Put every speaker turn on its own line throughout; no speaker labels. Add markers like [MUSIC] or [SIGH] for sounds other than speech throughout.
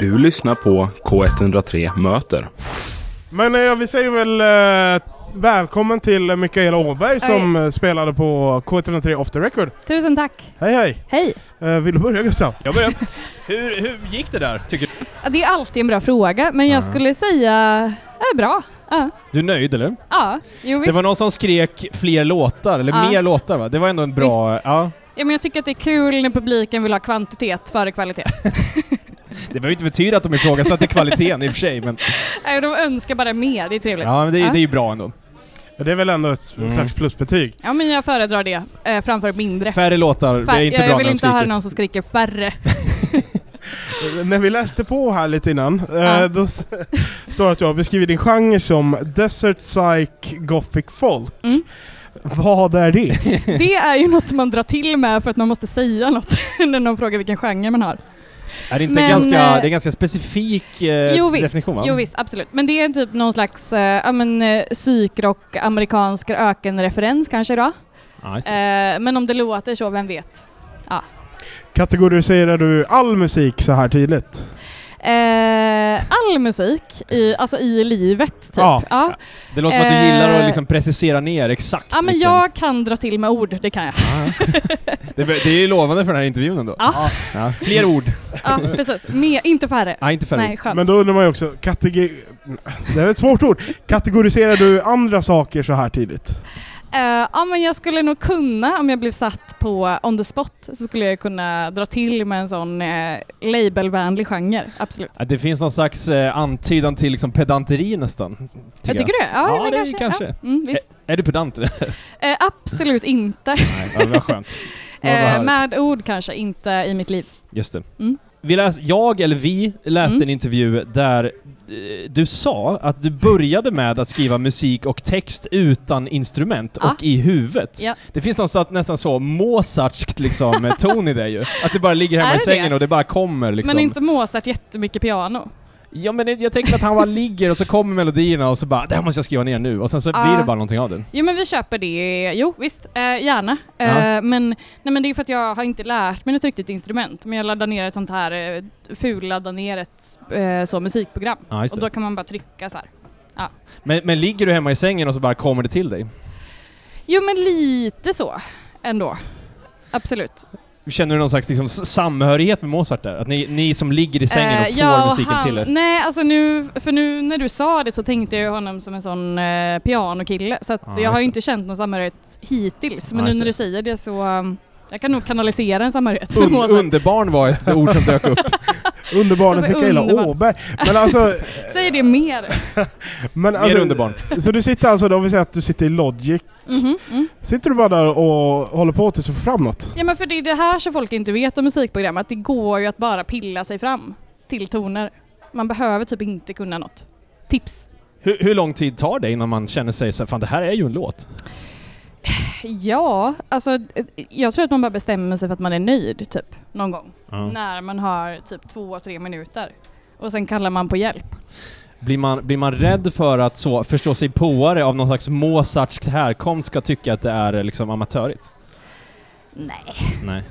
Du lyssnar på K103 Möter.
Men eh, vi säger väl eh, välkommen till Mikaela Åberg som eh, spelade på K103 Off the Record.
Tusen tack.
Hej hej!
Hej.
Eh, vill du börja Gustav?
Jag börjar. Hur, hur gick det där, tycker du?
Ja, Det är alltid en bra fråga, men jag skulle säga är bra. Ja,
Du är nöjd, eller?
ja. jo
Det
visst.
var någon som skrek fler låtar, eller
Ja.
mer låtar, va? Det var ändå en bra... Ja.
Ja, men jag tycker att det är kul när publiken vill ha kvantitet före
[LAUGHS]
kvalitet.
Det behöver inte betyda att
[LAUGHS]
de ifrågasatte kvaliteten i och för sig, men,
Nej, De önskar bara mer, det är trevligt. Ja,
ja, men det, det är ju bra ändå.
Det är väl ändå ett
Mm.
slags plusbetyg.
men jag föredrar det eh, framför mindre.
Färre låtar, det
Fär-
är inte
jag
bra
vill
när de
inte höra
skriker.
någon som skriker
[LAUGHS]
färre.
Eh, När vi läste på här lite innan, eh,
Ja.
då s- [LAUGHS] står det att du har beskrivit din genre som Desert Psych Gothic Folk.
Mm.
Vad är det?
Det är ju något man drar till med för att man måste säga något [LAUGHS] när någon frågar vilken genre man har.
Är det inte
Men,
ganska, det
eh,
är en ganska specifik eh,
Jo, visst.
definition, va?
Jo visst, absolut. Men det är typ någon slags eh, ja, men, eh, psykrock, amerikansk ökenreferens kanske då.
Ja, just det.
Eh, men om det låter så, vem vet?
Kategoriserar du all musik så här tydligt?
Eh, all musik, i, alltså i livet typ.
Ja.
Ja. Ja.
det låter som att du gillar att
eh,
liksom precisera ner exakt
men
vilken-
jag kan dra till med ord, det kan jag.
Ja,
[LAUGHS]
ja. det, be- det är ju lovande för den här intervjun ändå.
Ja,
Ja. Fler ord. [LAUGHS]
ja precis. Med, inte färre.
Nej, inte färre
Nej,
ord.
skönt.
Men då undrar man ju också, kategori... Det är ett svårt ord. Kategoriserar du andra saker så här tidigt?
Eh, ja, men jag skulle nog kunna, om jag blev satt på on the spot, så skulle jag kunna dra till med en sån eh, labelvänlig genre. Absolut.
Ja, det finns någon slags eh, antydan till liksom pedanteri nästan.
jag tycker det? Ja,
Ja,
men
det
kanske.
kanske.
Ja. Mm, visst.
Är du pedant eller?
Eh, absolut inte.
Nej, ja, vad skönt. Vad
Eh,
härligt.
med ord kanske, inte i mitt liv.
Just det.
Mm.
Vi läs, jag, eller vi, läste
Mm.
en intervju där eh, du sa att du började med att skriva musik och text utan instrument
Ja.
och i huvudet.
Ah. Ja.
Det finns någon slatt, nästan så Mozartskt liksom, eh, ton i det ju. Att du bara ligger hemma
Är
i
det
sängen
det?
och det bara kommer liksom.
Men inte Mozart jättemycket piano.
Ja men det- jag tänker att han bara ligger och så kommer melodierna och så bara det här måste jag skriva ner nu och sen så
Ja.
blir det bara någonting av det.
Jo men vi köper det, jo visst, eh, gärna. Eh,
Ja.
men, nej, men det är för att jag har inte lärt mig något riktigt instrument. Men jag laddar ner ett sånt här, eh, fulladda ner ett eh, så musikprogram.
Ja, just
och
det.
då kan man bara trycka så här.
Men, men ligger du hemma i sängen och så bara kommer det till dig?
Jo men lite så ändå. Absolut.
Känner du någon slags liksom, s- samhörighet med Mozart där? Att ni, ni som ligger i sängen
Eh,
och får
ja,
musiken
han-
till er?
Nej, alltså nu, för nu när du sa det så tänkte jag ju honom som en sån eh, pianokille. Så att
Ja,
jag
just
har ju
det.
inte känt någon samhörighet hittills. Men
Ja,
nu
just
när
det.
du säger det så um, jag kan nog kanalisera en samhörighet med [LAUGHS]
Un,
Mozart.
underbarn var ett ord som
[LAUGHS]
dök upp.
Underbarnet
Alltså,
Mikaela
underbar-
Åberg. Men alltså...
Säg det mer.
Men
Mer
alltså
underbarn.
så du sitter alltså, då vill säga att du sitter i Logic.
Mhm, mm.
Sitter du bara där och håller på tills du får fram något?
Ja men för det är det här som folk inte vet om musikprogram, att det går ju att bara pilla sig fram till toner. Man behöver typ inte kunna något. Tips.
Hur, hur lång tid tar det innan man känner sig så här, fan det här är ju en låt?
Ja, alltså eh, jag tror att man bara bestämmer sig för att man är nöjd typ någon gång.
Ja.
När man har typ två, tre minuter. Och sen kallar man på hjälp.
Blir, man, blir man rädd för att så förstå sig påare av någon slags Mozartsk härkomst ska tycka att det är eh,
[LAUGHS]
liksom amatörigt?
Nej.
Nej.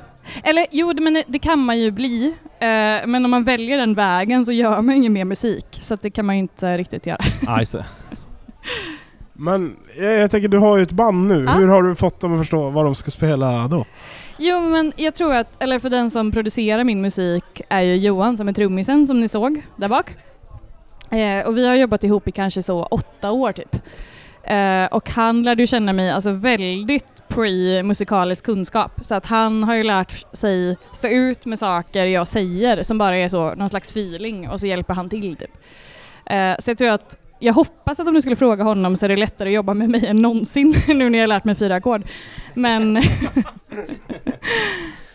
Eller jo, det- men det- det kan man ju bli. Eh, men om man väljer den vägen så gör man ju ingen mer musik. Så att det kan man ju inte riktigt göra.
Ah, just det.
Men jag, jag tänker, du har ju ett band nu.
Ja.
Hur har du fått dem att förstå vad de ska spela då?
Jo men jag tror att, eller för den som producerar min musik är ju Johan som är trummisen som ni såg där bak. Eh, och vi har jobbat ihop i kanske så åtta år typ. Eh, och han lärde ju känna mig alltså väldigt pre-musikalisk kunskap så att han har ju lärt sig stå ut med saker jag säger som bara är så någon slags feeling och så hjälper han till typ. Eh, så jag tror att jag hoppas att om du skulle fråga honom så är det lättare att jobba med mig än någonsin [LAUGHS] nu när jag har lärt mig fyra ackord. Men [LAUGHS]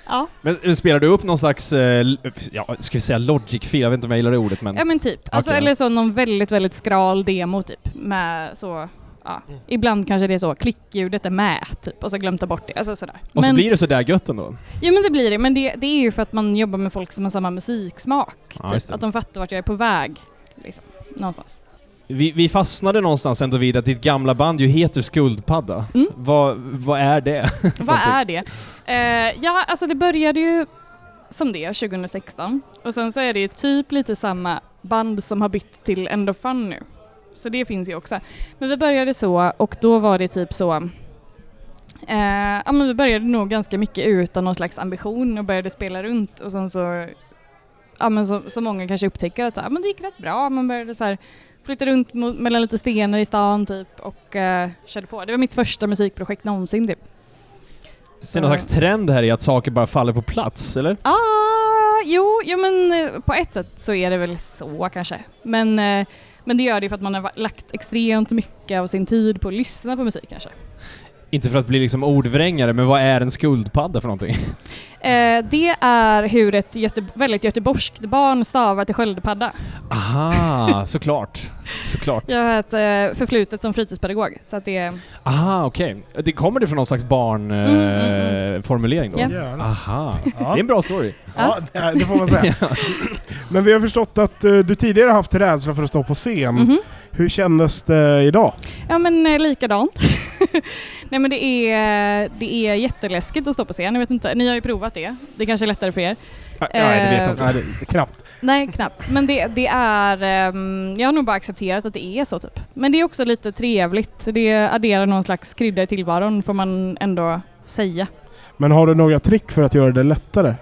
ja.
Men eh, spelar du upp någon slags, eh, l- ja, ska vi säga Logic-fil? Jag vet inte om jag gillar det ordet men...
Ja men typ. Alltså,
Okej.
Eller så någon väldigt, väldigt skral demo typ. Med så, ja.
Mm.
Ibland kanske det är så, klickljudet är med typ och så glömt ta bort det. Alltså sådär.
Och så
men,
blir det sådär gött ändå?
Jo men det blir det, men det, det är ju för att man jobbar med folk som har samma musiksmak.
Ja, just
typ.
det.
Att de fattar vart jag är på väg. Liksom. Någonstans.
Vi, vi fastnade någonstans ändå vid att ditt gamla band ju heter Skuldpadda.
Mm.
Vad, vad är det? [LAUGHS]
[LAUGHS] Vad är det? Eh, ja, alltså det började ju som det 2016. Och sen så är det ju typ lite samma band som har bytt till End of Fun nu. Så det finns ju också. Men vi började så och då var det typ så eh, ja, men vi började nog ganska mycket utan någon slags ambition och började spela runt och sen så ja, men så, så många kanske upptäcker att så här, men det gick rätt bra. Man började så här, flytta runt mot, mellan lite stenar i stan typ och eh, körde på. Det var mitt första musikprojekt någonsin typ.
Ser
Eh.
någon slags trend här i att saker bara faller på plats, eller?
Ja, jo, jo men eh, på ett sätt så är det väl så kanske. Men, eh, men det gör det ju för att man har va- lagt extremt mycket av sin tid på att lyssna på musik kanske.
Inte för att bli liksom ordvrängare, men vad är en skuldpadda för någonting?
Eh, det är hur ett göte, väldigt göteborgskt barn stavar till sköldpadda.
Aha, [LAUGHS] såklart. Såklart.
Jag har ett eh, förflutet som fritidspedagog så att det
Aha, okej. Det kommer det från någon slags
Mm, mm,
barnformulering då?
Ja.
Gärna.
Aha. Det är
Ja.
en bra story.
Ja, det- det får man säga. [LAUGHS] Men vi har förstått att eh, du tidigare haft rädsla för att stå på scen.
Mhm.
Hur kändes det idag?
Ja men eh, likadant. [LAUGHS] Nej men det är, det är jätteläskigt att stå på scen. Jag vet inte, ni har ju provat det. Det kanske är lättare för er.
nej, det
Eh.
vet jag inte.
Nej, det, knappt.
Nej knappt. Men det, det är, ehm, jag har nog bara accepterat att det är så typ. Men det är också lite trevligt. Det adderar någon slags krydda i tillvaron får man ändå säga.
Men har du några trick för att göra det lättare?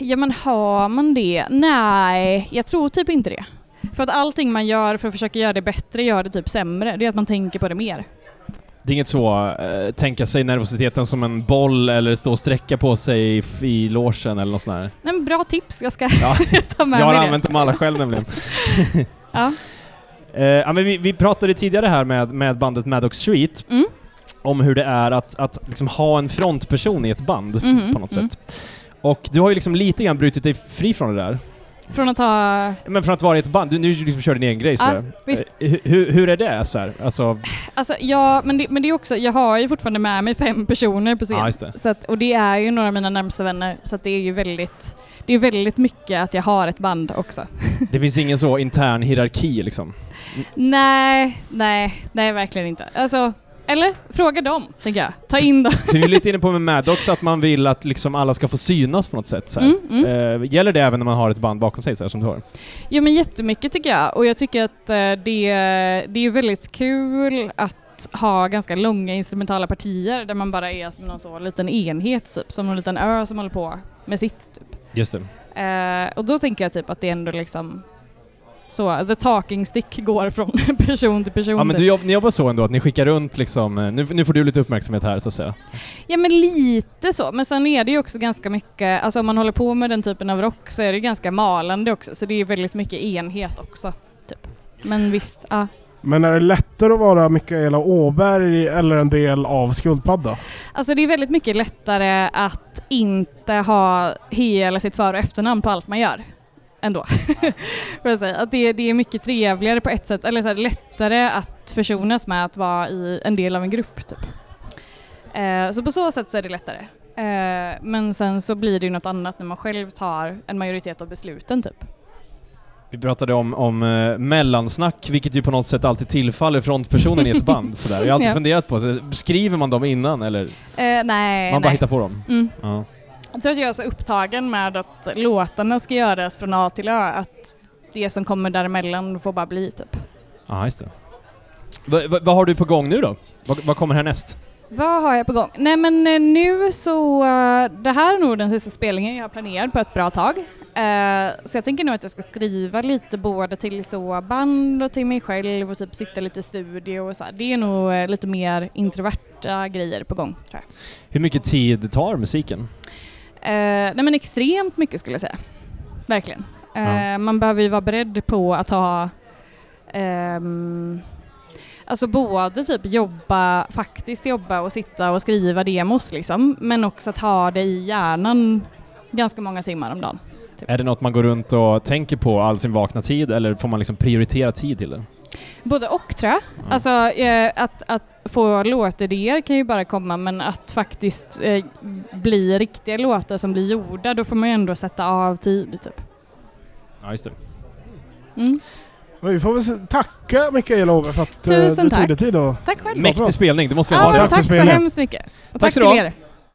Ja men har man det? Nej, jag tror typ inte det. För att allting man gör för att försöka göra det bättre gör det typ sämre. Det är att man tänker på det mer.
Det är inget så, eh, tänka sig nervositeten som en boll eller stå och sträcka på sig i, i logen eller något sånt där.
Nej, men bra tips, jag ska
Ja.
[LAUGHS] ta med
Jag har
mig det.
använt dem alla själv nämligen.
Ja.
Eh, ja, men vi, vi pratade tidigare här med, med bandet Maddox Street
Mm.
om hur det är att, att liksom ha en frontperson i ett band
Mhm,
på något
mm.
sätt. Och du har ju liksom lite grann brutit dig fri från det där.
Från att ha
Men från att vara i ett band, du, nu liksom kör din egen grej så
Ja,
här.
visst.
Eh, hu- hur, hur är det så här? Alltså,
Alltså, ja, men det, men det är också, jag har ju fortfarande med mig fem personer på scen.
Ja, just det.
Så att, och det är ju några av mina närmsta vänner, så att det är ju väldigt, det är väldigt mycket att jag har ett band också.
det finns ingen så intern hierarki liksom.
Nej, nej, nej verkligen inte. Alltså, eller fråga dem, tänker jag. Ta in dem.
För vi är lite inne på med Maddox att man vill att liksom alla ska få synas på något sätt. [LAUGHS] Så här.
Mm, mm.
Eh, gäller det även när man har ett band bakom sig så här, som du har?
Jo men jättemycket tycker jag och jag tycker att eh, det, det är väldigt kul att ha ganska långa instrumentala partier där man bara är som någon så liten enhet typ, som en liten ö som håller på med sitt. Typ.
Just det.
Eh, och då tänker jag typ att det ändå liksom så, the talking stick går från [LAUGHS] person till person.
Ja men
typ.
du, jobb- ni jobbar så ändå, att ni skickar runt liksom, eh, nu, nu får du lite uppmärksamhet här så att säga.
Ja men lite så, men sen är det ju också ganska mycket, alltså om man håller på med den typen av rock så är det ganska malande också, så det är väldigt mycket enhet också. Typ. Men visst, ja.
Men är det lättare att vara Mikaela Åberg eller en del av Skuldpadda?
Alltså det är väldigt mycket lättare att inte ha hela sitt för och efternamn på allt man gör. Ändå. [LAUGHS] Får jag säga. Att det, det är mycket trevligare på ett sätt, eller så här, lättare att försonas med att vara i en del av en grupp. Typ. Eh, så på så sätt så är det lättare. Eh, men sen så blir det ju något annat när man själv tar en majoritet av besluten typ.
Vi pratade om, om eh, mellansnack, vilket ju på något sätt alltid tillfaller frontpersonen i
[LAUGHS]
ett band. Sådär. Jag har alltid
Ja.
funderat på, så, skriver man dem innan eller? Man
Eh, nej,
bara
nej.
hittar på dem?
Mm.
Ja.
Jag tror att jag är så upptagen med att låtarna ska göras från A till Ö att det som kommer däremellan får bara bli typ.
Ja, just det. Va, va, vad har du på gång nu då? Vad vad kommer härnäst?
Vad har jag på gång? Nej men eh, nu så, eh, det här är nog den sista spelningen jag har planerat på ett bra tag. Eh, Så jag tänker nog att jag ska skriva lite både till så band och till mig själv och typ sitta lite i studio och så. här. Det är nog eh, lite mer introverta grejer på gång tror jag.
Hur mycket tid tar musiken?
Eh, Nej men extremt mycket skulle jag säga. Verkligen. Eh, Man behöver ju vara beredd på att ha ehm, Alltså både typ jobba, faktiskt jobba och sitta och skriva demos liksom, men också att ha det i hjärnan ganska många timmar om dagen.
Är det något man går runt och tänker på all sin vakna tid eller får man liksom prioritera tid till det?
Både och tror jag.
Ja.
Alltså eh, att, att få låtidéer kan ju bara komma, men att faktiskt eh, bli riktiga låtar som blir gjorda, då får man ju ändå sätta av tid typ.
Ja, just det.
Mm.
Men vi får väl se- tacka Mikaela Åberg för att eh,
Tusen
du
tack.
tog dig tid och
Tack själv.
Mäktig spelning, det måste vi
Ja,
ha.
tack
men
för
tack så
spelningen.
hemskt mycket. Och tack
ska
till
du ha.
er.